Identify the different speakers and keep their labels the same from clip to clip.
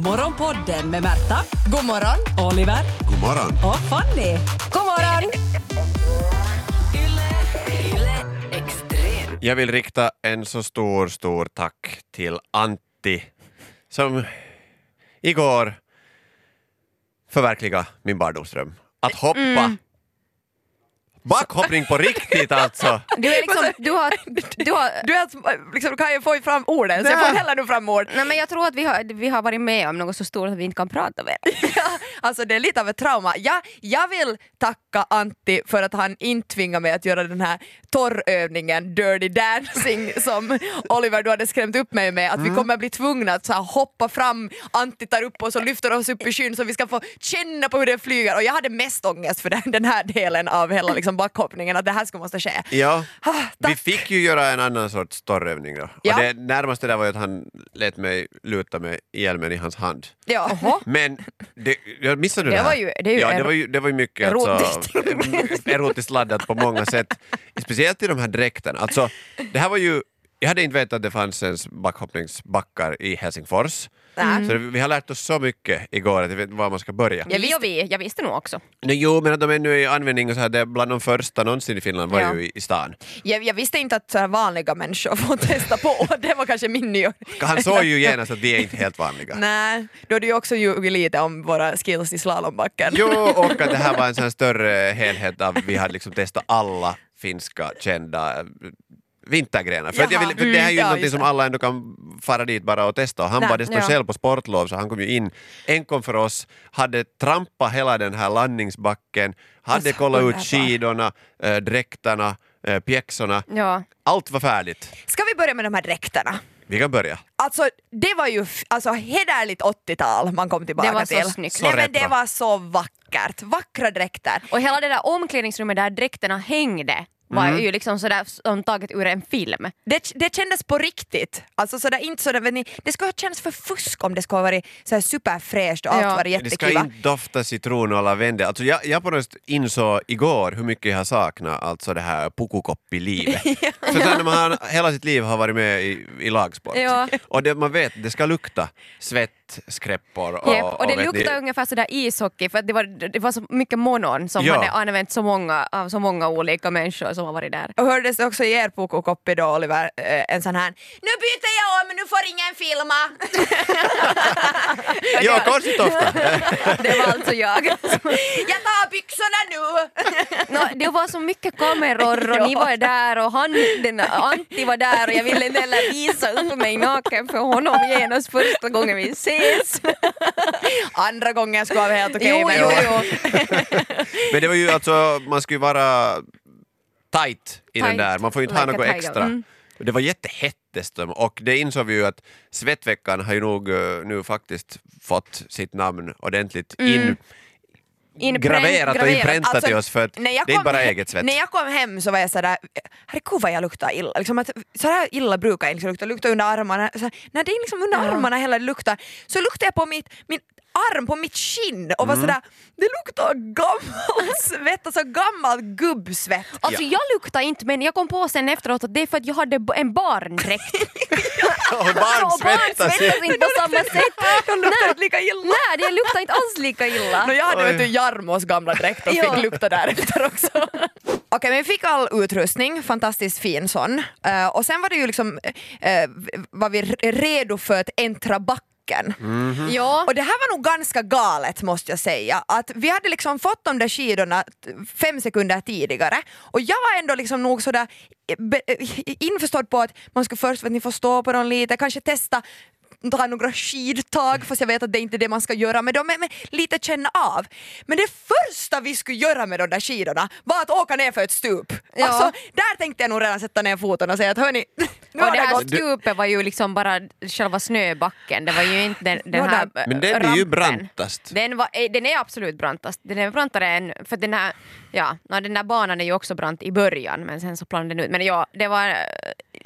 Speaker 1: Morgonpodden med Märta,
Speaker 2: God morgon!
Speaker 1: Oliver
Speaker 3: God morgon.
Speaker 1: och Fanny.
Speaker 2: God morgon!
Speaker 4: Jag vill rikta en så stor, stor tack till Antti som igår förverkliga min barndomsdröm. Att
Speaker 2: Mm.
Speaker 4: hoppa. Backhoppning på riktigt alltså!
Speaker 5: Du, är liksom, du har... Du har Alltså,
Speaker 2: Du är alltså- liksom, kan ju få fram orden, så jag får heller nu fram ord.
Speaker 5: nej men jag tror att vi har, vi har varit med om något så stort att vi inte kan prata mer.
Speaker 2: Alltså det är lite av ett trauma. Jag, jag vill tacka Antti för att han inte tvingade mig att göra den här torrövningen Dirty Dancing som Oliver du hade skrämt upp mig med. Att vi kommer bli tvungna att så här, hoppa fram, Antti tar upp oss och lyfter oss upp i skyn så vi ska få känna på hur det flyger. Och jag hade mest ångest för den, den här delen av hela liksom, backhoppningen, att det här skulle måste ske.
Speaker 4: Ja.
Speaker 2: Ah,
Speaker 4: Vi
Speaker 2: tack.
Speaker 4: fick ju göra en annan sorts torrövning då.
Speaker 2: Ja.
Speaker 4: Och det närmaste där var ju att han lät mig luta mig ihjäl mig i hans hand.
Speaker 2: Ja.
Speaker 4: Men det, jag missade du
Speaker 5: Det
Speaker 4: det här?
Speaker 5: var ju- det är ju
Speaker 4: ja,
Speaker 5: ero-
Speaker 4: det var ju, det var ju mycket
Speaker 2: erotiskt.
Speaker 4: Alltså, em, erotiskt laddat på många sätt. Speciellt i de här dräkterna. Alltså, det här var ju, jag hade inte vetat att det fanns ens backhoppningsbackar i Helsingfors.
Speaker 2: Mm.
Speaker 4: Så det, vi har lärt oss så mycket igår att jag vet inte var man ska börja.
Speaker 5: Ja, vi och vi, jag visste nog också.
Speaker 4: Nej, jo, men att de ännu är i användning och så här, det är bland de första någonsin i Finland var
Speaker 5: Ja.
Speaker 4: ju i, i stan.
Speaker 2: Jag, jag visste inte att så här, vanliga människor får testa på, det var kanske min nya...
Speaker 4: Han såg ju genast att vi är inte helt vanliga.
Speaker 2: Nej, du hade ju också ljugit lite om våra skills i slalombacken.
Speaker 4: Jo, och att det här var en sån här större helhet av vi hade liksom testat alla finska kända eh, vintergrenar. För, att jag
Speaker 2: Jaha,
Speaker 4: vill, för det här är ju
Speaker 2: mm, ja,
Speaker 4: någonting
Speaker 2: just
Speaker 4: som
Speaker 2: det.
Speaker 4: alla ändå kan fara dit bara och testa och han
Speaker 2: Nej,
Speaker 4: var dessutom
Speaker 2: ja.
Speaker 4: själv på sportlov så han kom ju in enkom för oss, hade trampat hela den här landningsbacken, hade
Speaker 2: Alltså,
Speaker 4: kollat ut
Speaker 2: underbart.
Speaker 4: skidorna, äh, dräkterna, äh, pjäxorna.
Speaker 5: Ja.
Speaker 4: Allt var färdigt.
Speaker 2: Ska vi börja med de här dräkterna?
Speaker 4: Vi kan börja.
Speaker 2: Alltså det var ju f- alltså, hederligt 80-tal man kom tillbaka
Speaker 5: Det var så
Speaker 2: till.
Speaker 5: snyggt.
Speaker 4: Så
Speaker 2: Nej, men
Speaker 4: retro.
Speaker 2: det var så vackert, vackra dräkter.
Speaker 5: Och hela det där omklädningsrummet där dräkterna hängde var
Speaker 2: Mm.
Speaker 5: ju liksom sådär som taget ur en film.
Speaker 2: Det, det kändes på riktigt. Alltså, så där, inte så där, vet ni, det skulle ha känts för fusk om det skulle ha varit så här superfräscht och allt
Speaker 5: Ja.
Speaker 2: varit
Speaker 4: Det ska
Speaker 2: jättekiva.
Speaker 4: inte dofta citron och lavendel. Alltså jag, jag på något sätt insåg igår hur mycket jag har saknat alltså det här pukukoppilivet. För sen när man har, hela sitt liv har varit med i, i lagsport
Speaker 5: Ja.
Speaker 4: och det, man vet det ska lukta svett, skräppor och,
Speaker 5: Jep, och det
Speaker 4: vet
Speaker 5: luktar
Speaker 4: ni,
Speaker 5: ungefär sådär ishockey för att det var, det var så mycket monon som
Speaker 4: Ja.
Speaker 5: hade använt så många, av så många olika människor som har varit där.
Speaker 2: Och hördes det också i er Pukukoppi då Oliver, eh, en sån här “Nu byter jag om, nu får ingen filma”.
Speaker 4: Ja, korstofta!
Speaker 5: Det var alltså jag.
Speaker 2: “Jag tar byxorna nu”.
Speaker 5: No, det var så mycket kameror och ni var där och han, den, Antti var där och jag ville inte heller visa upp mig naken för honom genast första gången vi ses.
Speaker 2: Andra gången skulle vara helt okej
Speaker 5: jo,
Speaker 2: men...
Speaker 5: jo, jo.
Speaker 4: Men det var ju alltså, man skulle ju vara tight i den
Speaker 5: Tight,
Speaker 4: där, man får ju inte ha
Speaker 5: like a
Speaker 4: något
Speaker 5: tiger.
Speaker 4: extra.
Speaker 5: Mm.
Speaker 4: Det var jättehett dessutom och det insåg vi ju att Svettveckan har ju nog eh, nu faktiskt fått sitt namn ordentligt
Speaker 5: Mm.
Speaker 4: in,
Speaker 5: Inprän-
Speaker 4: graverat och
Speaker 5: graverat.
Speaker 4: inpräntat i
Speaker 2: Alltså,
Speaker 4: oss för att det
Speaker 2: när
Speaker 4: är
Speaker 2: jag
Speaker 4: inte
Speaker 2: kom
Speaker 4: bara
Speaker 2: he-
Speaker 4: eget svett.
Speaker 2: När jag kom hem så var jag sådär, herregud vad jag luktar illa. Liksom att, så här illa brukar jag inte lukta, lukta under armarna. Så här, när det är liksom under armarna hela luktar, så luktar jag på mitt, min arm, på mitt skinn och var
Speaker 4: Mm.
Speaker 2: sådär, det luktar gammalt svett, alltså gammalt gubbsvett.
Speaker 5: Alltså jag luktar inte men jag kom på sen efteråt att det är för att jag hade b- en barndräkt.
Speaker 4: och
Speaker 5: och
Speaker 4: barn
Speaker 5: barn
Speaker 4: svettas ju.
Speaker 5: svettas inte på samma sätt.
Speaker 2: De luktar inte lika illa.
Speaker 5: Nej, det luktar inte alls lika illa.
Speaker 2: No, jag hade
Speaker 4: Oj.
Speaker 2: vet du, Jarmos gamla dräkt och
Speaker 5: Ja.
Speaker 2: fick lukta därefter också. Okej, men vi fick all utrustning, fantastiskt fin sån. Eh, och sen var det ju liksom, eh, var vi re- redo för att äntra backen.
Speaker 5: Ja.
Speaker 2: Och det här var nog ganska galet måste jag säga. Att vi hade liksom fått de där skidorna t- fem sekunder tidigare och jag var ändå liksom nog sådär eh, be- eh, införstådd på att man skulle först vet ni, få stå på dem lite, kanske testa dra några skidtag fast jag vet att det är inte är det man ska göra med dem, men, men lite känna av. Men det första vi skulle göra med de där skidorna var att åka ner för ett stup.
Speaker 5: Ja.
Speaker 2: Alltså, där tänkte jag nog redan sätta ner foten och säga att hörni, nu
Speaker 5: Och
Speaker 2: har
Speaker 5: det
Speaker 2: det
Speaker 5: här
Speaker 2: gått.
Speaker 5: stupet var ju liksom bara själva snöbacken, det var ju inte den, den
Speaker 2: Ja,
Speaker 5: här
Speaker 2: där-
Speaker 5: eh,
Speaker 4: Men den är ju
Speaker 5: rampen.
Speaker 4: brantast.
Speaker 5: Den, var, eh, den är absolut brantast. Den är brantare än, för den här, ja, no, den där banan är ju också brant i början men sen så planar den ut. Men ja, det var, eh,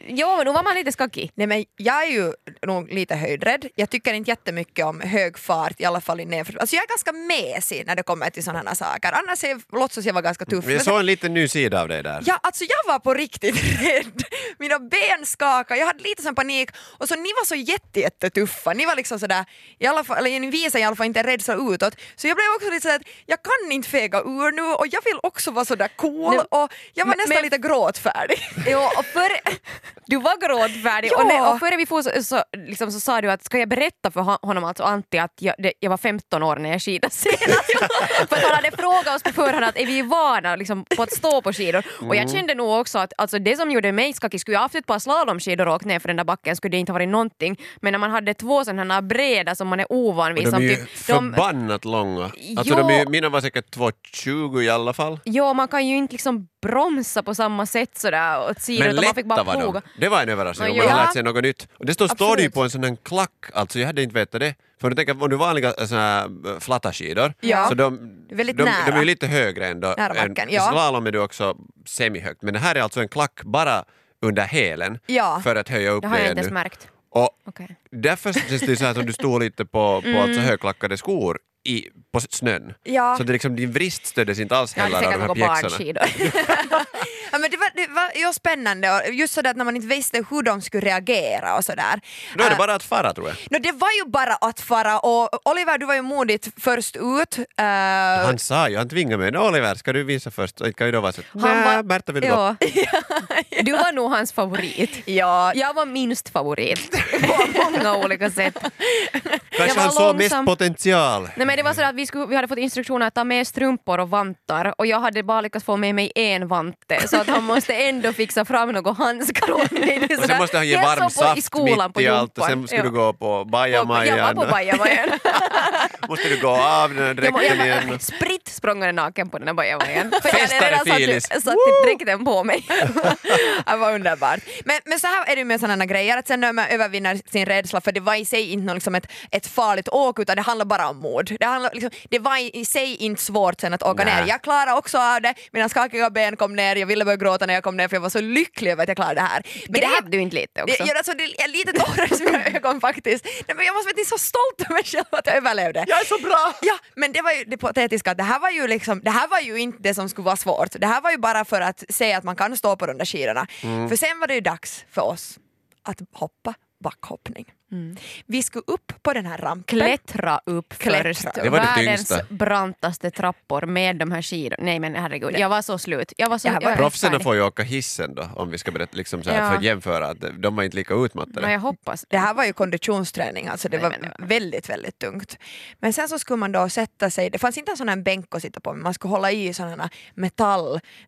Speaker 5: jo, nu var man lite skakig.
Speaker 2: Nej men jag är ju nog lite höjdrädd. Jag tycker inte jättemycket om hög fart, i alla fall i nedför. Alltså jag är ganska mesig när det kommer till sådana här saker. Annars är, låtsas jag vara ganska tuff. Men
Speaker 4: Jag
Speaker 2: så-
Speaker 4: såg en liten ny sida av dig där.
Speaker 2: Ja, alltså jag var på riktigt rädd. Mina ben skakade, jag hade lite sån panik. Och så ni var så jätte, jättetuffa. Ni var liksom sådär, i alla fall, eller ni visade i alla fall inte rädsla utåt. Så jag blev också lite sådär att jag kan inte fega ur nu och jag vill också vara sådär cool.
Speaker 5: Nej,
Speaker 2: Och jag var
Speaker 5: men-
Speaker 2: nästan
Speaker 5: men-
Speaker 2: lite gråtfärdig.
Speaker 5: Jo, och före, du var gråtfärdig
Speaker 2: Ja.
Speaker 5: och, när, och före vi for så, så, liksom, så sa du att ska jag berätta för hon- honom, alltså Antti, att jag, det, jag var 15 år när jag skidade senast. för att han hade frågat oss på förhand att är vi vana liksom, på att stå på skidor? Och
Speaker 4: Mm.
Speaker 5: jag kände nog också att alltså, det som gjorde mig skakig, skulle jag haft ett par slalomskidor och åkt ner för den där backen skulle det inte ha varit någonting. Men när man hade två sådana här breda som man är ovan
Speaker 4: Och
Speaker 5: vid.
Speaker 4: de är
Speaker 5: som
Speaker 4: ju
Speaker 5: typ- de-
Speaker 4: förbannat långa. Alltså
Speaker 5: Jo.
Speaker 4: de är, ju- mina var säkert 2,20 i alla fall.
Speaker 5: Jo, man kan ju inte liksom bromsa på samma sätt sådär åt sidan
Speaker 4: Men
Speaker 5: utan man fick
Speaker 4: lätta
Speaker 5: bara
Speaker 4: var de.
Speaker 5: ploga.
Speaker 4: Det var en överraskning.
Speaker 5: No,
Speaker 4: om man
Speaker 2: ja.
Speaker 4: har lärt sig något nytt. Och dessutom står det ju
Speaker 2: Absolut.
Speaker 4: på en sån här klack. Alltså jag hade inte vetat det. För om du tänker om du vanliga såna här eh, flatta skidor.
Speaker 2: Ja.
Speaker 4: Så de,
Speaker 2: Väldigt
Speaker 4: de,
Speaker 2: nära.
Speaker 4: de är ju lite högre ändå.
Speaker 2: Nära
Speaker 4: än-
Speaker 2: backen, ja.
Speaker 4: Slalom är du också semihögt. Men det här är alltså en klack bara under hälen
Speaker 2: Ja.
Speaker 4: för att höja upp
Speaker 5: Det har jag
Speaker 4: dig
Speaker 5: inte ens
Speaker 4: ännu.
Speaker 5: märkt.
Speaker 4: Och
Speaker 5: Okej.
Speaker 4: därför känns det ju så här som du står lite på,
Speaker 5: Mm.
Speaker 4: på alltså högklackade skor i, på snön.
Speaker 2: Ja.
Speaker 4: Så det är liksom, din vrist stöddes inte alls
Speaker 5: Jag
Speaker 4: heller
Speaker 5: hade
Speaker 4: av de
Speaker 5: säkert
Speaker 4: här
Speaker 5: något
Speaker 4: pjäxorna.
Speaker 5: barnskidor.
Speaker 2: Ja, men det var, det var ju spännande och just sådär att när man inte visste hur de skulle reagera och sådär.
Speaker 4: Då är det
Speaker 2: Äh,
Speaker 4: bara att fara tror jag.
Speaker 2: no, det var ju bara att fara och Oliver du var ju modigt först ut. Äh,
Speaker 4: Han sa ju, han tvingade mig. "Nå, Oliver, ska du visa först? Och det kan ju då vara så att,
Speaker 5: Han
Speaker 4: "Nä,
Speaker 5: var-
Speaker 4: Märta vill gå.
Speaker 5: Ja. Du var nog hans favorit.
Speaker 2: ja,
Speaker 5: Jag var minst favorit på många olika sätt.
Speaker 4: Kanske
Speaker 5: var
Speaker 4: han såg mest
Speaker 5: långsam.
Speaker 4: potential.
Speaker 5: Nej, men det var så att vi, skulle, vi hade fått instruktioner att ta med strumpor och vantar och jag hade bara lyckats få med mig en vante så att han måste ändå fixa fram något handskar åt mig. Det är
Speaker 4: Och sen
Speaker 5: sådär,
Speaker 4: måste han ge
Speaker 5: jag
Speaker 4: varm
Speaker 5: såg på-
Speaker 4: saft mitt i allt och
Speaker 5: jumpan.
Speaker 4: sen ska du
Speaker 5: Ja.
Speaker 4: gå på
Speaker 5: På- Jag var
Speaker 4: bajamajan.
Speaker 5: på bajamajan.
Speaker 4: Måste du gå av den här
Speaker 5: Jag var-
Speaker 4: dräkten
Speaker 5: jag var-
Speaker 4: igen.
Speaker 5: Spritt språng jag naken på den här bajamajan. För jag
Speaker 4: Festare,
Speaker 5: hade redan
Speaker 4: Filis.
Speaker 5: satt, satt dräkten på mig.
Speaker 2: Det var underbart. Men, men så här är det ju med sådana här grejer, att sen när man övervinner sin rädsla, för det var i sig inte någon, liksom ett, ett farligt åk utan det handlar bara om mod. Det, handlar, liksom, det var i, i sig inte svårt sen att åka
Speaker 4: Nä.
Speaker 2: ner. Jag klarade också av det, mina skakiga ben kom ner, jag ville börja gråta när jag kom ner för jag var så lycklig över att jag klarade det här. Men det här
Speaker 5: Grät du inte lite
Speaker 2: det,
Speaker 5: också?
Speaker 2: jag, alltså, det är lite tårar i mina ögon faktiskt. Nej, men jag måste vara så stolt över mig själv att jag överlevde.
Speaker 4: Jag är så bra!
Speaker 2: Ja, men det var ju det patetiska att det här var ju liksom, det här var ju inte det som skulle vara svårt. Det här var ju bara för att säga att man kan stå på de där skidorna.
Speaker 4: Mm.
Speaker 2: För sen var det ju dags för oss att hoppa backhoppning.
Speaker 4: Mm.
Speaker 2: Vi skulle upp på den här rampen.
Speaker 5: Klättra upp
Speaker 2: Klättra.
Speaker 5: först.
Speaker 4: Det var det
Speaker 5: Världens
Speaker 4: tyngsta.
Speaker 5: brantaste trappor med de här skidorna. Nej men herregud, jag var så slut. Jag var så,
Speaker 2: Det här var-
Speaker 5: jag
Speaker 4: Proffsen
Speaker 5: färdig.
Speaker 4: får ju åka hissen då, om vi ska berätta, liksom så här,
Speaker 5: Ja.
Speaker 4: för att jämföra. att De var inte lika utmattade.
Speaker 5: No, jag hoppas.
Speaker 2: Det här var ju konditionsträning, alltså det
Speaker 5: Nej,
Speaker 2: var
Speaker 5: men det var-
Speaker 2: väldigt, väldigt tungt. Men sen så skulle man då sätta sig, det fanns inte en sån här bänk att sitta på, men man skulle hålla i sådana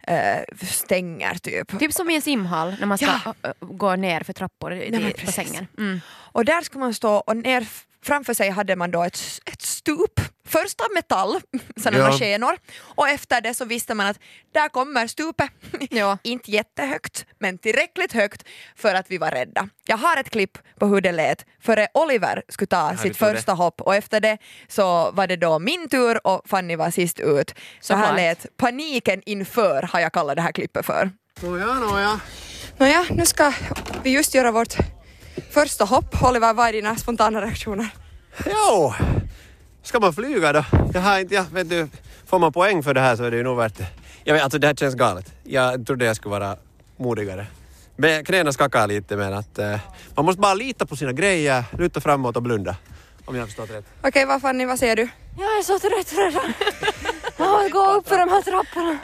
Speaker 2: metallstänger typ.
Speaker 5: Typ som i en simhall när man ska
Speaker 2: Ja.
Speaker 5: ö, ö, gå ner för trappor i-
Speaker 2: Nej, men
Speaker 5: på
Speaker 2: precis.
Speaker 5: sängen. Mm.
Speaker 2: Och där skulle man stå och ner, framför sig hade man då ett, ett stup, först av metall, sådana här
Speaker 4: Ja.
Speaker 2: skenor, och efter det så visste man att där kommer stupet.
Speaker 5: Ja.
Speaker 2: Inte jättehögt, men tillräckligt högt för att vi var rädda. Jag har ett klipp på hur det lät före Oliver skulle ta
Speaker 4: du
Speaker 2: sitt
Speaker 4: tog det.
Speaker 2: första hopp och efter det så var det då min tur och Fanny var sist ut. Så här
Speaker 5: Såklart.
Speaker 2: lät paniken inför, har jag kallat det här klippet för.
Speaker 3: Nåja, nåja.
Speaker 2: Nåja, nu ska vi just göra vårt första hopp. Oliver, vad är dina spontana reaktioner?
Speaker 4: Jo! Ska man flyga då? Jag har inte, jag vet du, får man poäng för det här så är det ju nog värt det. Jag vet, alltså det här känns galet. Jag trodde jag skulle vara modigare. Men Knäna skakar lite men att eh, man måste bara lita på sina grejer, luta framåt och blunda. Om jag har förstått rätt.
Speaker 2: Okej, vad Fanny, vad säger du?
Speaker 6: Jag är så trött redan. Jag vill gå upp för de här trapporna.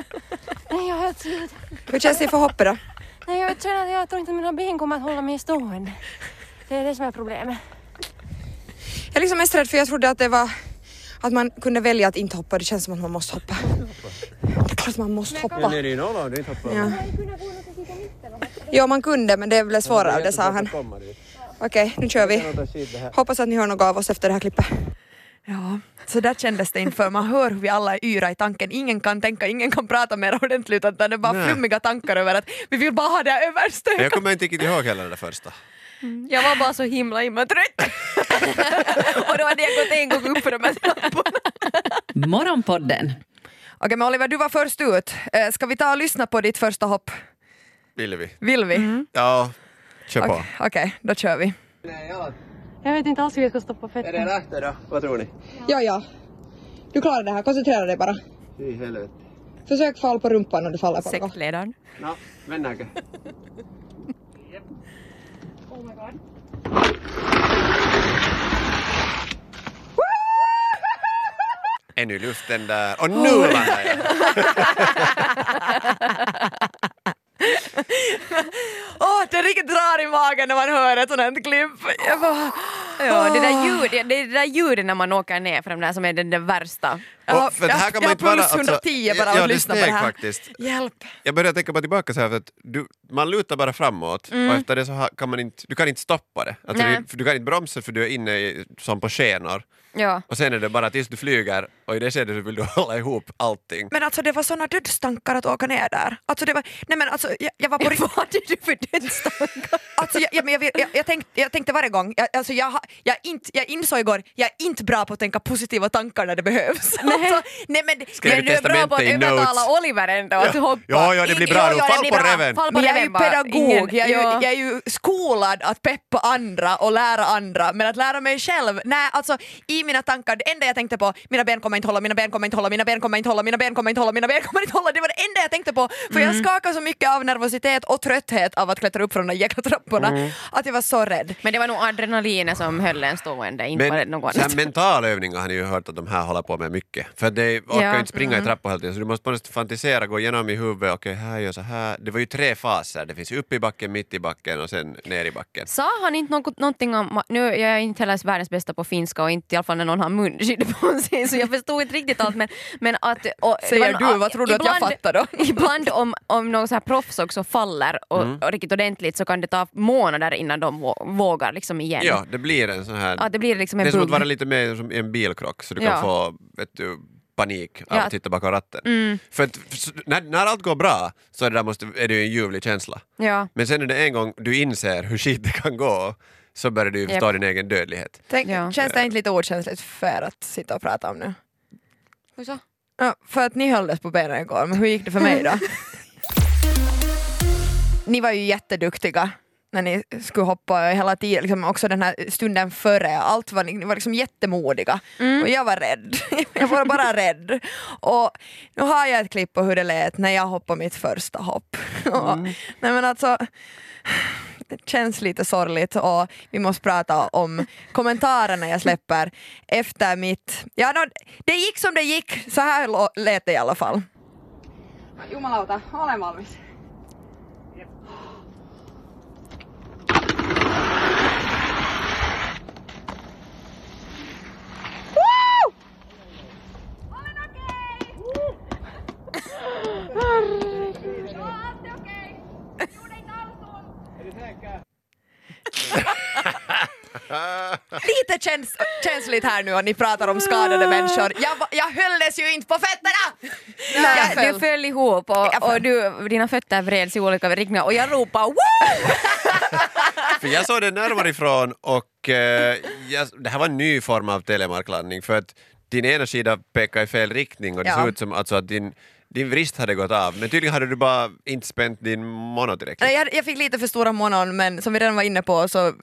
Speaker 6: Nej, jag är helt slut.
Speaker 2: Hur känns det för hoppet då?
Speaker 6: Nej, jag känner att jag tror inte mina ben kommer att hålla mig stående. Det är det som är problemet.
Speaker 2: Jag är liksom mest rädd för jag trodde att det var att man kunde välja att inte hoppa. Det känns som att man måste hoppa. Det är klart man måste hoppa.
Speaker 4: det är ju nolla, det är inte att
Speaker 2: Ja. Jo, man kunde, men det blev svårare av det, sa han. Okej, nu kör vi. Hoppas att ni hör något av oss efter det här klippet. Ja, så där kändes det inför. Man hör hur vi alla är yra i tanken. Ingen kan tänka, ingen kan prata mer ordentligt utan det är bara
Speaker 4: Nej.
Speaker 2: flummiga tankar över att vi vill bara ha det här överstökat.
Speaker 4: Jag kommer inte riktigt ihåg heller det första.
Speaker 5: Jag var bara så himla himla trött. och då hade jag gått en gång upp för de här trapporna.
Speaker 1: Morgonpodden
Speaker 2: Okej, men Oliver, du var först ut. Eh, Ska vi ta och lyssna på ditt första hopp?
Speaker 4: Ville vi?
Speaker 5: Mm.
Speaker 2: Vill vi?
Speaker 4: Ja,
Speaker 7: Kör på.
Speaker 2: Okej, okej, då kör vi.
Speaker 8: Jag vet inte alls hur jag ska stoppa fettet.
Speaker 7: rätt då? Vad tror ni?
Speaker 3: Ja, ja. Du klarar det här, koncentrera dig bara.
Speaker 7: I helvete.
Speaker 3: Försök fall på rumpan om du faller på något.
Speaker 5: Sektledaren.
Speaker 7: No, mennäänkö?
Speaker 4: Ännu luften där. Och nu landar jag!
Speaker 2: Åh, det riktigt drar i magen när man hör ett sånt här klipp. Jag bara,
Speaker 5: Ja, det där ljudet, det är det där ljudet när man åker ner för de där som är den där värsta.
Speaker 2: Ja,
Speaker 4: Och för det här
Speaker 2: jag-
Speaker 4: kan
Speaker 2: jag
Speaker 4: man inte bara,
Speaker 2: puls 110 bara
Speaker 4: ja,
Speaker 2: och lyssna på
Speaker 4: steg
Speaker 2: det här.
Speaker 4: Faktiskt.
Speaker 2: hjälp.
Speaker 4: Jag börjar tänka bara tillbaka så här för att du, man lutar bara framåt och efter det så ha- kan man inte, du kan inte stoppa det. Alltså
Speaker 5: Nej.
Speaker 4: du, för du kan inte bromsa för du är inne i, som på skenor
Speaker 5: Ja.
Speaker 4: och sen är det bara tills du flyger och i det skedet så vill du hålla ihop allting.
Speaker 2: Men alltså det var såna dödstankar att åka ner där. Alltså det var, nej men alltså jag, jag var på riktigt...
Speaker 5: Vad är du för dödstankar?
Speaker 2: Alltså, jag, jag, men jag, vet- jag, jag, tänkte, jag tänkte varje gång, jag, alltså jag, har- jag, inte, jag insåg igår, jag är inte bra på att tänka positiva tankar när det behövs. Alltså, nej, men,
Speaker 4: Skrev
Speaker 5: Men du är bra på att
Speaker 4: testamente i
Speaker 5: övertala
Speaker 4: notes.
Speaker 5: Oliver ändå att hoppa.
Speaker 4: Ja, ja, det blir
Speaker 5: Ing-
Speaker 4: bra
Speaker 5: ja,
Speaker 4: då.
Speaker 5: ja, det
Speaker 4: Fall
Speaker 5: blir
Speaker 4: på
Speaker 5: bra.
Speaker 4: reven.
Speaker 5: Fall på
Speaker 2: men jag är ju
Speaker 5: reven bara.
Speaker 2: pedagog,
Speaker 5: Ingen-
Speaker 2: jag, är ju,
Speaker 5: ja.
Speaker 2: jag är ju skolad att peppa andra och lära andra, men att lära mig själv, nej alltså i mina tankar, det enda jag tänkte på, mina ben kommer inte hålla, mina ben kommer inte hålla, mina ben kommer inte hålla, mina ben kommer inte hålla, mina ben kommer inte hålla, det var det enda jag tänkte på, för jag skakade så mycket av nervositet och trötthet av att klättra upp från de jäkla trapporna, att jag var så rädd.
Speaker 5: Men det var nog adrenalinet som höll en stående, inte var det
Speaker 4: Men
Speaker 5: något
Speaker 4: så här
Speaker 5: annat.
Speaker 4: mentala övningar har ni ju hört att de här håller på med mycket. För det orkar
Speaker 5: Ja. Mm.
Speaker 4: ju inte springa i trappor hela tiden så du måste på något sätt fantisera, gå igenom i huvudet, okej här gör jag så här. Det var ju tre faser, det finns upp i backen, mitt i backen och sen ner i backen.
Speaker 5: Sa han inte något, någonting om, nu jag är jag inte heller världens bästa på finska och inte i alla fall när någon har munskydd på sig så jag förstod inte riktigt allt men, men att... Och, det
Speaker 2: Säger
Speaker 5: var
Speaker 2: du,
Speaker 5: någon-
Speaker 2: vad tror du att jag fattar då?
Speaker 5: Ibland om, om någon så här proffs också faller och,
Speaker 4: Mm.
Speaker 5: och riktigt ordentligt så kan det ta månader innan de vå- vågar liksom igen.
Speaker 4: Ja, det blir en sån här...
Speaker 5: Ja, det blir liksom en
Speaker 4: det är som att
Speaker 5: bugg.
Speaker 4: vara lite mer som i en bilkrock så du
Speaker 5: Ja.
Speaker 4: kan få vet du, panik av
Speaker 5: Ja. Mm.
Speaker 4: att titta bakom ratten. För att, för, s- när, när allt går bra så är det, där måste, är det ju en ljuvlig känsla.
Speaker 5: Ja.
Speaker 4: Men sen när det en gång du inser hur skit det kan gå så börjar du ju förstå din egen dödlighet.
Speaker 2: Tänk,
Speaker 5: Ja.
Speaker 2: Känns det inte lite okänsligt för att sitta och prata om nu?
Speaker 5: Hur så?
Speaker 2: Ja, för att ni hölldes på benen igår, men hur gick det för mig då? ni var ju jätteduktiga när ni skulle hoppa hela tiden, liksom också den här stunden före. Allt var, ni var liksom jättemodiga och jag var rädd. jag var bara rädd. Och nu har jag ett klipp på hur det lät när jag hoppade mitt första hopp. Och, nej men alltså, det känns lite sorgligt och vi måste prata om kommentarerna jag släpper efter mitt... Ja, nå, det gick som det gick, så här lo- lät det i alla fall.
Speaker 3: Jumalauta, olen valmis.
Speaker 2: Lite käns känsligt här nu och ni pratar om skadade människor. Jag, va- jag hölldes ju inte på fötterna! jag
Speaker 5: Nej,
Speaker 2: föll.
Speaker 5: du föll ihop och, och du, dina fötter vreds i olika riktningar och jag ropade wow!
Speaker 4: För jag såg det närmare ifrån och eh, jag, det här var en ny form av telemarklandning för att din ena sida pekade i fel riktning och det
Speaker 2: Ja.
Speaker 4: såg ut som alltså, att din, din vrist hade gått av men tydligen hade du bara inte spänt din mono tillräckligt.
Speaker 2: Nej, jag, jag fick lite för stora månaden men som vi redan var inne på så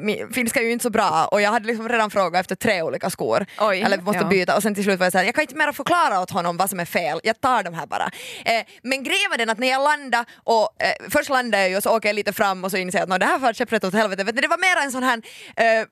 Speaker 2: min, finska är ju inte så bra och jag hade liksom redan frågat efter tre olika skor.
Speaker 5: Oj,
Speaker 2: Eller måste
Speaker 5: ja.
Speaker 2: byta och sen till slut var jag såhär, jag kan inte mer förklara åt honom vad som är fel, jag tar de här bara. Eh, men grejen var den att när jag landade och eh, först landade jag ju och så åker jag lite fram och så inser jag att "Nå, det här var käpprätt åt helvete. Vet ni, det var mer en sån här, eh, eh,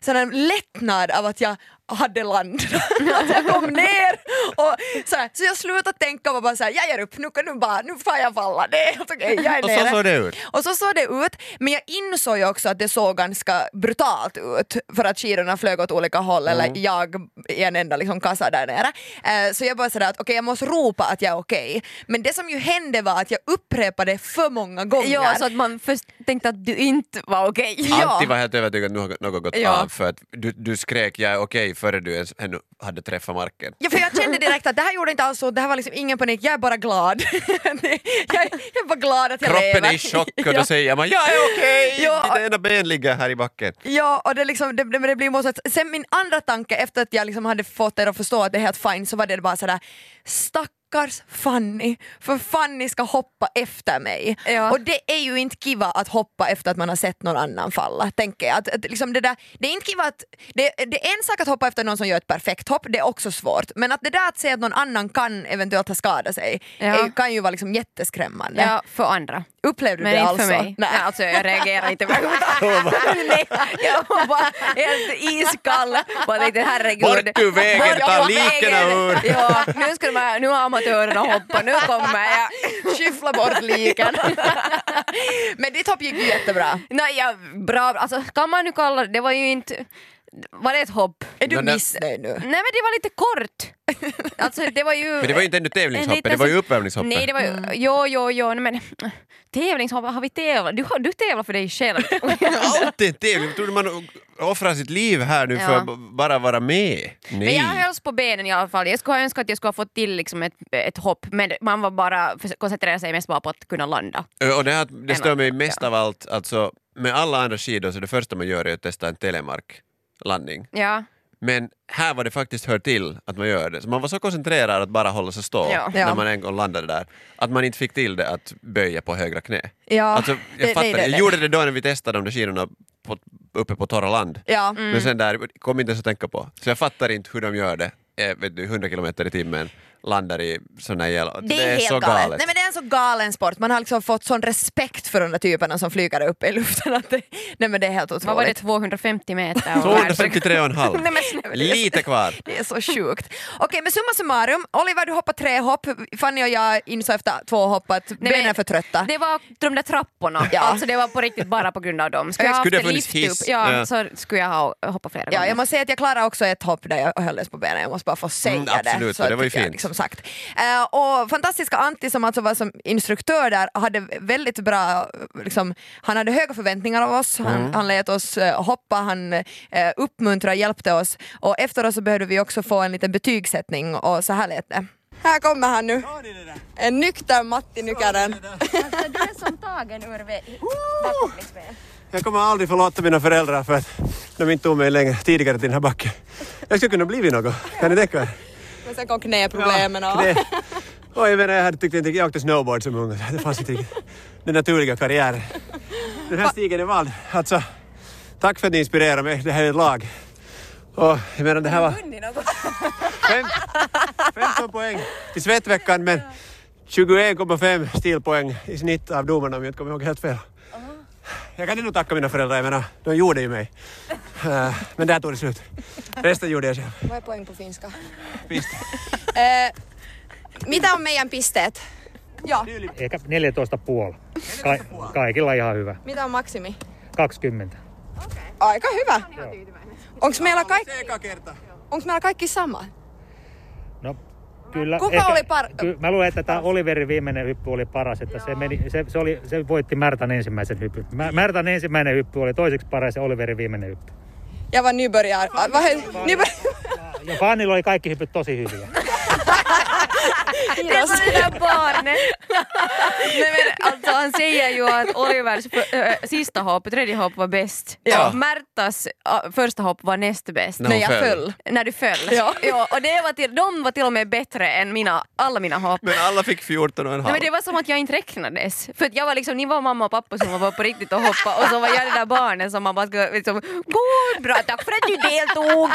Speaker 2: sån här lättnad av att jag hade landat. att jag kom ner och så, här, så jag slutade tänka och var bara såhär, jag ger upp, nu, kan- nu, bara, nu får jag falla, det är helt okej, jag är
Speaker 4: Och så
Speaker 2: nere."
Speaker 4: såg det ut.
Speaker 2: Och så såg det ut, men jag insåg ju också att det såg ganska brutalt ut för att skidorna flög åt olika håll
Speaker 5: Mm.
Speaker 2: eller jag i en enda liksom kassa där nere. Eh, så jag bara sådär att okej jag måste ropa att jag är okej. Men det som ju hände var att jag upprepade för många gånger.
Speaker 5: Ja, så att man först tänkte att du inte var okej.
Speaker 4: Antti var helt övertygad att nu har något gått
Speaker 5: Ja.
Speaker 4: av för att du, du skrek jag är okej före du ens ännu hade träffat marken.
Speaker 2: Ja, för jag kände direkt att det här gjorde inte alls ont, det här var liksom ingen panik, jag är bara glad. jag, jag är bara glad att jag lever.
Speaker 4: Kroppen är i chock och då säger man jag är okej!
Speaker 2: Ja.
Speaker 4: Ditt ena ben ligger här i backen.
Speaker 2: Ja, och det, liksom, det, det, men det blir måste, sen min andra tanke efter att jag liksom hade fått er att förstå att det är helt fine så var det bara sådär stack stackars Fanny, för Fanny ska hoppa efter mig.
Speaker 5: Ja.
Speaker 2: Och det är ju inte kiva att hoppa efter att man har sett någon annan falla, tänker jag. Att, att, liksom det, där, det är inte kiva att, det, det är en sak att hoppa efter någon som gör ett perfekt hopp, det är också svårt. Men att det där att se att någon annan kan eventuellt ha skadat sig
Speaker 5: Ja.
Speaker 2: är, ju- kan ju vara liksom jätteskrämmande.
Speaker 5: Ja, för andra.
Speaker 2: Upplevde du
Speaker 5: Men
Speaker 2: det
Speaker 5: inte
Speaker 2: alltså?
Speaker 5: för mig. Nej.
Speaker 2: Nej.
Speaker 5: alltså, jag reagerar inte. Nej, jag var bara helt iskall. Bara tänkte herregud.
Speaker 9: Bort ur vägen,
Speaker 5: Bort
Speaker 9: ta
Speaker 5: ur
Speaker 9: liken ur.
Speaker 5: Ja, nu, ska de här, nu har amatörerna hoppat, nu kommer jag.
Speaker 2: Skyffla bort liken. Men ditt hopp gick ju jättebra.
Speaker 5: Nej, ja, bra, alltså, kan man nu kalla det, det var ju inte... Var det ett hopp?
Speaker 2: Är du
Speaker 9: Men det-
Speaker 2: missnöjd nu?
Speaker 5: Nej men det var lite kort. Alltså, det var ju...
Speaker 9: Men det var ju inte ännu tävlingshoppet,
Speaker 5: liten
Speaker 9: det var ju
Speaker 5: sek-
Speaker 9: uppvärmningshoppet.
Speaker 5: Nej, det var ju...
Speaker 2: Mm.
Speaker 5: Jo, jo, jo, nej, men... Tävlingshopp, har vi tävlat? Du, har- du tävlar för dig själv.
Speaker 9: Alltid en tävling! Tror du man offrar sitt liv här nu
Speaker 5: Ja.
Speaker 9: för att b- bara vara med?
Speaker 5: Men
Speaker 9: Nej.
Speaker 5: jag hölls på benen i alla fall. Jag skulle ha önskat att jag skulle ha fått till liksom ett, ett hopp men man var bara förs- koncentrerade sig mest bara på att kunna landa.
Speaker 9: Ö, Och det, här, det
Speaker 5: En
Speaker 9: stör mig
Speaker 5: annan,
Speaker 9: mest
Speaker 5: ja.
Speaker 9: av allt, alltså med alla andra skidor så det första man gör är att testa en telemarklandning.
Speaker 5: Ja.
Speaker 9: Men här var det faktiskt hör till att man gör det. Så man var så koncentrerad att bara hålla sig stå
Speaker 5: Ja.
Speaker 2: Ja.
Speaker 9: när man en gång landade där, att man inte fick till det att böja på högra knä.
Speaker 2: Ja,
Speaker 9: Alltså, jag
Speaker 2: det-
Speaker 9: fattar
Speaker 2: nej,
Speaker 9: det,
Speaker 2: det-
Speaker 9: jag
Speaker 2: det-
Speaker 9: gjorde det då när vi testade de där skidorna på, uppe på torra land.
Speaker 2: Ja.
Speaker 9: Men sen där kom inte ens att tänka på. Så jag fattar inte hur de gör det. Eh, vet du, 100 kilometer i timmen landar i sån här jävla...
Speaker 2: Det är, helt
Speaker 9: så galet.
Speaker 2: Nej, men det är en så galen sport, man har liksom fått sån respekt för de där typerna som flyger upp i luften. Att det, nej men det är helt otroligt.
Speaker 5: Vad var det, 250 meter?
Speaker 9: 253 och en halv.
Speaker 5: Nej, men snälla, det är så-
Speaker 9: Lite kvar.
Speaker 2: Det är så sjukt. Okej men summa summarum, Oliver du hoppade tre hopp, Fanny och jag insåg efter två hopp att
Speaker 5: Nej, men
Speaker 2: benen är för trötta.
Speaker 5: Det var de där trapporna.
Speaker 2: Ja.
Speaker 5: Alltså det var på riktigt bara på grund av dem. Skulle jag ha haft
Speaker 9: Skulle
Speaker 5: en
Speaker 9: det funnits
Speaker 5: lift
Speaker 9: hiss?
Speaker 5: upp ja,
Speaker 9: Ja.
Speaker 5: så skulle jag ha hoppat flera
Speaker 2: Ja,
Speaker 9: Mm.
Speaker 5: gånger.
Speaker 2: jag måste säga att jag klarade också ett hopp där jag höll på benen, jag måste bara få säga
Speaker 9: Mm, absolut,
Speaker 2: det.
Speaker 9: och det var ju
Speaker 2: tycker jag
Speaker 9: fint.
Speaker 2: Liksom sagt. Eh, och fantastiska Antti som alltså var som instruktör där hade väldigt bra, liksom, han hade höga förväntningar av oss, han,
Speaker 9: Mm.
Speaker 2: han lät oss eh, hoppa, han eh, uppmuntrade, hjälpte oss och efter oss så behövde vi också få en liten betygssättning och så här lät det.
Speaker 3: Här kommer han nu. En nykter Matti Nykänen.
Speaker 6: Alltså du är som tagen ur vä-
Speaker 4: Oh!
Speaker 6: backhoppningsspel.
Speaker 4: Jag kommer aldrig förlåta mina föräldrar för att de inte tog mig längre tidigare till den här backen. Jag skulle kunna blivit något, kan ni tänka er?
Speaker 3: Men sen kom knäproblemen och...
Speaker 4: Det, och jag menar, jag hade tyckt inte, jag åkte snowboard som ung. Det fanns inte riktigt den naturliga karriären. Den här stigen är vald. Alltså, tack för att ni inspirerar mig. Det här är ett lag. Och jag menar, det här var... Fem, 15 poäng till svettveckan men 21,5 stilpoäng i snitt av domarna om jag inte kommer ihåg helt fel.
Speaker 5: Ah.
Speaker 4: Jag kan ändå tacka mina föräldrar, jag menar, de gjorde ju mig. Eh, Men där tog det slut. Resten gjorde jag själv.
Speaker 3: Vad är poäng på finska?
Speaker 4: Piste.
Speaker 3: Eh, mitä on meidän pisteet?
Speaker 10: Ehkä 14,5. Ka- kaikilla ihan hyvä.
Speaker 3: Mitä on maksimi?
Speaker 10: 20.
Speaker 3: Aika hyvä. Onks meillä, kaikki,
Speaker 4: Eka kerta.
Speaker 3: onks meillä kaikki sama?
Speaker 10: No, kyllä.
Speaker 3: Kuka oli par-
Speaker 10: ky- mä luulen, että tämä Oliverin viimeinen hyppy oli paras. Että se, meni, se, se, oli, se voitti Märtan ensimmäisen hyppyn. Mä,
Speaker 3: Niin.
Speaker 10: Märtan ensimmäinen hyppy oli toiseksi paras ja Oliverin viimeinen hyppy.
Speaker 3: Jag var nybörjare. Äh, Vad nybör...
Speaker 10: Ja Fanilla oli kaikki hypyt tosi hyviä.
Speaker 5: Det är som det där barnet. Nej, men, alltså, han säger ju att Olivers äh, sista hopp, tredje hopp var bäst.
Speaker 9: Ja.
Speaker 5: Och Märtas äh, första hopp var näst bäst.
Speaker 9: När hon
Speaker 2: jag
Speaker 9: föll.
Speaker 2: föll.
Speaker 5: När du föll. Ja. och det var till, de var till och med bättre än mina, alla mina hopp.
Speaker 9: Men alla fick 14 och en halv.
Speaker 5: Nej, men det var som att jag inte räknades. För att jag var liksom, ni var mamma och pappa som var på riktigt och hoppa och så var jag det där barnet som man bara ska liksom, god bra tack för att du deltog.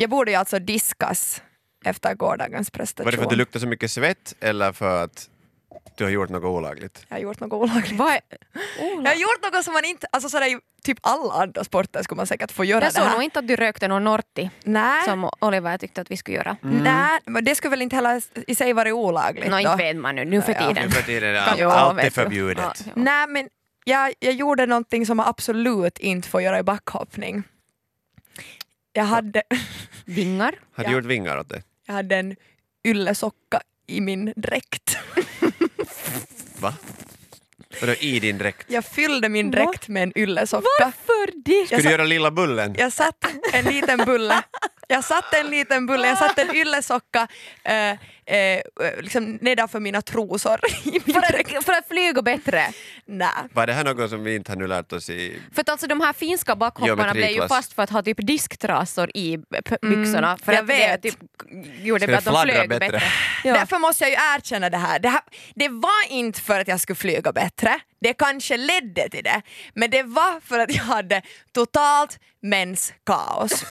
Speaker 2: Jag borde ju alltså diskas efter gårdagens prestation.
Speaker 9: Var det för att det luktade så mycket svett eller för att du har gjort något olagligt?
Speaker 2: Jag har gjort något olagligt.
Speaker 5: Vad är-
Speaker 2: Jag har gjort något som man inte, alltså sådär, i typ alla andra sporter skulle man säkert få göra
Speaker 5: Jag
Speaker 2: det
Speaker 5: såg
Speaker 2: här.
Speaker 5: nog inte att du rökte någon norti
Speaker 2: Nej, Mm.
Speaker 5: som Oliver tyckte att vi skulle göra.
Speaker 2: nej, men det skulle väl inte heller i sig vara olagligt
Speaker 5: Nå
Speaker 2: då?
Speaker 5: inte vet man nu, nu för
Speaker 2: Ja, ja.
Speaker 5: tiden.
Speaker 9: För tiden är
Speaker 5: Ja,
Speaker 9: allt är
Speaker 5: vet du.
Speaker 9: förbjudet.
Speaker 5: Ja, ja.
Speaker 2: Nej men jag, jag gjorde någonting som man absolut inte får göra i backhoppning. Jag hade,
Speaker 5: Vingar?
Speaker 9: Har du gjort vingar åt det?
Speaker 2: jag hade en yllesocka i min dräkt.
Speaker 9: Va? Vadå i din dräkt?
Speaker 2: Jag fyllde min dräkt med en yllesocka.
Speaker 5: Varför det?
Speaker 9: Ska
Speaker 2: Jag
Speaker 9: du
Speaker 2: sa-
Speaker 9: göra lilla bullen?
Speaker 2: jag satt en liten bulle. Jag satt en liten bulle, jag satt en yllesocka, eh, eh, liksom nedanför mina trosor. i min
Speaker 5: För
Speaker 2: dräkt.
Speaker 5: att, för att flyga bättre.
Speaker 2: Nä.
Speaker 9: Var det här något som vi inte har nu lärt oss i...
Speaker 5: För att alltså de här finska backhopparna blev ju
Speaker 9: Geometriklass.
Speaker 5: fast för att ha typ disktrasor i p- byxorna. för
Speaker 2: jag
Speaker 5: att
Speaker 2: vet.
Speaker 5: det typ gjorde
Speaker 9: Ska det
Speaker 5: att de
Speaker 9: fladdra
Speaker 5: flög
Speaker 9: bättre?
Speaker 5: bättre. Ja.
Speaker 2: Därför måste jag ju erkänna det här. det här. Det var inte för att jag skulle flyga bättre, det kanske ledde till det, men det var för att jag hade totalt menskaos.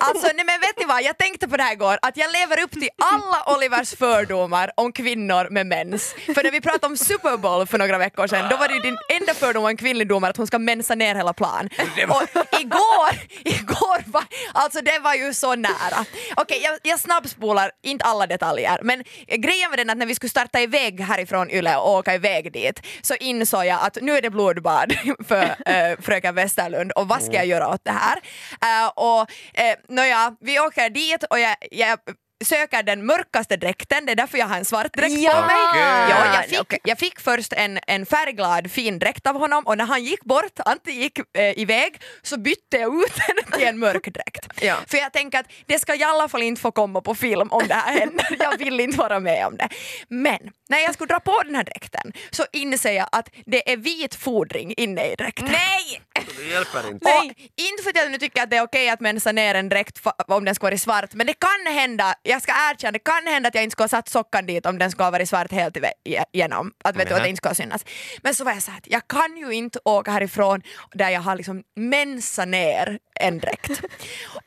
Speaker 2: Alltså nej men vet ni vad, jag tänkte på det här igår, att jag lever upp till alla Olivers fördomar om kvinnor med mens. För när vi pratade om Super Bowl för några veckor sedan, då var det ju din enda fördom om en kvinnlig domare att hon ska mensa ner hela plan. Och igår, igår var, alltså det var ju så nära. Okej, jag, jag snabbspolar inte alla detaljer, men grejen med den att när vi skulle starta iväg härifrån Yle och åka iväg dit så insåg jag att nu är det blodbad för eh, fröken Westerlund och vad ska jag göra åt det här? Eh, och eh, nåja, vi åker dit och jag, jag söker den mörkaste dräkten, det är därför jag har en svart dräkt på mig.
Speaker 9: Okej.
Speaker 2: Ja, jag, fick, jag fick först en, en färgglad fin dräkt av honom och när han gick bort, Antti gick eh, iväg, så bytte jag ut henne till en mörk dräkt.
Speaker 5: Ja.
Speaker 2: För jag tänker att det ska i alla fall inte få komma på film om det här händer. Jag vill inte vara med om det. Men när jag skulle dra på den här dräkten så inser jag att det är vit fodring inne i dräkten. Nej!
Speaker 9: Det hjälper inte.
Speaker 2: Och inte för att jag nu tycker att det är okej att mensa ner en dräkt fa- om den ska vara i svart, men det kan hända, jag ska erkänna, det kan hända att jag inte ska ha satt sockan dit om den ska ha varit svart helt ive- i- igenom. Att, vet du, att
Speaker 9: Nähä.
Speaker 2: det inte ska synas. Men så var jag så här, att jag kan ju inte åka härifrån där jag har liksom mensat ner en dräkt.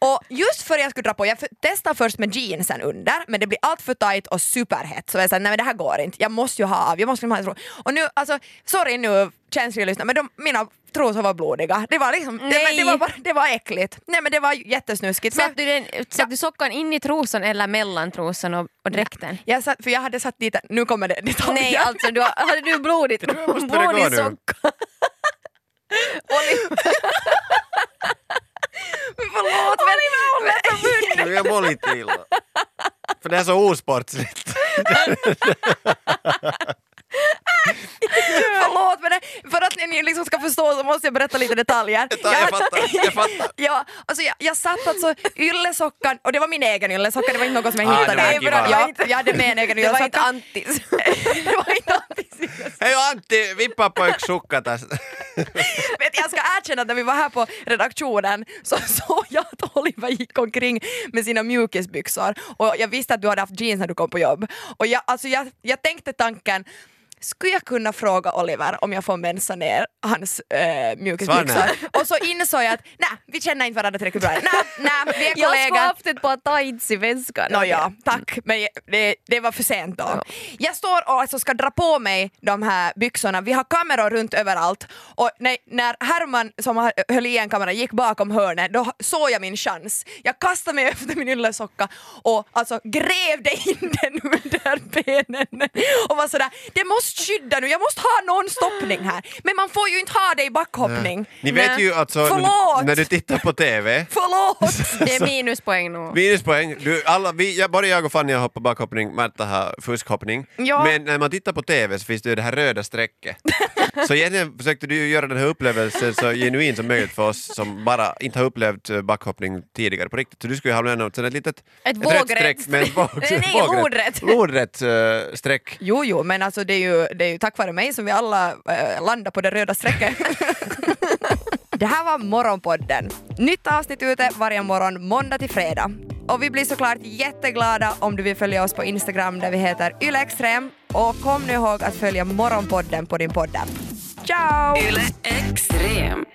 Speaker 2: och just för jag skulle dra på, jag f- testade först med jeansen under, men det blir allt för tight och superhett. Så jag sa, nej men det här går inte, jag måste ju ha av, jag måste ju ha en tro. Och nu, alltså, sorry nu känsliga lyssnare, men de, mina trosor var blodiga. Det var liksom, det, men det var
Speaker 5: Nej.
Speaker 2: bara, det var äckligt. Nej men det var jättesnuskigt. Så
Speaker 5: Satt du, den, satt du sockan in i trosan eller mellan trosan och, och dräkten?
Speaker 2: jag satt, för jag hade satt dit, nu kommer det detaljer.
Speaker 5: Nej, alltså du, har- hade du blodigt
Speaker 9: måste det gå nu.
Speaker 5: blodig socka?
Speaker 2: Förlåt men,
Speaker 9: Nu jag mår lite illa. För det här är så osportsligt.
Speaker 2: förlåt men det- för att ni liksom ska förstå så måste jag berätta lite detaljer.
Speaker 9: Jag fattar, jag fattar.
Speaker 2: Ja, alltså jag, jag satt alltså yllesockan, och det var min egen yllesocka, det var inte något som jag
Speaker 9: Ah,
Speaker 2: hittade.
Speaker 9: det var en kiva.
Speaker 2: ja, jag hade med en egen
Speaker 5: Det var inte
Speaker 2: yllesocka.
Speaker 5: Antis.
Speaker 2: det var inte Antis
Speaker 9: Hei Antti, vippa på yksi sukka tästä.
Speaker 2: Vet, jag ska erkänna att när vi var här på redaktionen så såg jag att Oliver gick omkring med sina mjukisbyxor och jag visste att du hade haft jeans när du kom på jobb. Och jag, alltså jag, jag tänkte tanken skulle jag kunna fråga Oliver om jag får mensa ner hans äh, mjukisbyxor?
Speaker 9: Svar
Speaker 2: Och så insåg jag att nej, vi känner inte varandra tillräckligt bra. Nej, nej, vi är
Speaker 5: Jag skulle
Speaker 2: kollegor.
Speaker 5: haft ett par tights i väskan.
Speaker 2: Nåja, tack. Men det, det var för sent då. Jag står och alltså ska dra på mig de här byxorna. Vi har kameror runt överallt. Och när, när Herman som har- höll i en kamera gick bakom hörnet, då såg jag min chans. Jag kastade mig efter min yllesocka och alltså grävde in den under benen. Och var sådär, det måste skydda nu, jag måste ha någon stoppning här. Men man får ju inte ha det i backhoppning.
Speaker 9: Ni vet ju alltså,
Speaker 2: Förlåt!
Speaker 9: när du tittar på TV,
Speaker 2: Förlåt!
Speaker 5: Det är minuspoäng nog.
Speaker 9: minuspoäng, du, alla, vi, ja, både jag och Fanny har hoppat backhoppning, Märta har fuskhoppning.
Speaker 2: Ja.
Speaker 9: Men när man tittar på TV så finns det ju det här röda strecket. så egentligen försökte du ju göra den här upplevelsen så genuin som möjligt för oss som bara inte har upplevt eh, backhoppning tidigare på riktigt. Så du skulle ju hamna i något sånt ett litet
Speaker 5: Ett
Speaker 9: rött
Speaker 5: vågrätt.
Speaker 9: streck med ett våg,
Speaker 5: Nej, nej, lodrätt.
Speaker 9: lodrätt eh, streck.
Speaker 2: Jo, jo, men alltså det är ju, det är ju tack vare mig som vi alla eh, landar på det röda strecket. det här var Morgonpodden. Nytt avsnitt ute varje morgon måndag till fredag. Och vi blir såklart jätteglada om du vill följa oss på Instagram där vi heter ylextrem. Och kom nu ihåg att följa Morgonpodden på din podd. Ciao!
Speaker 1: Yle Extrem.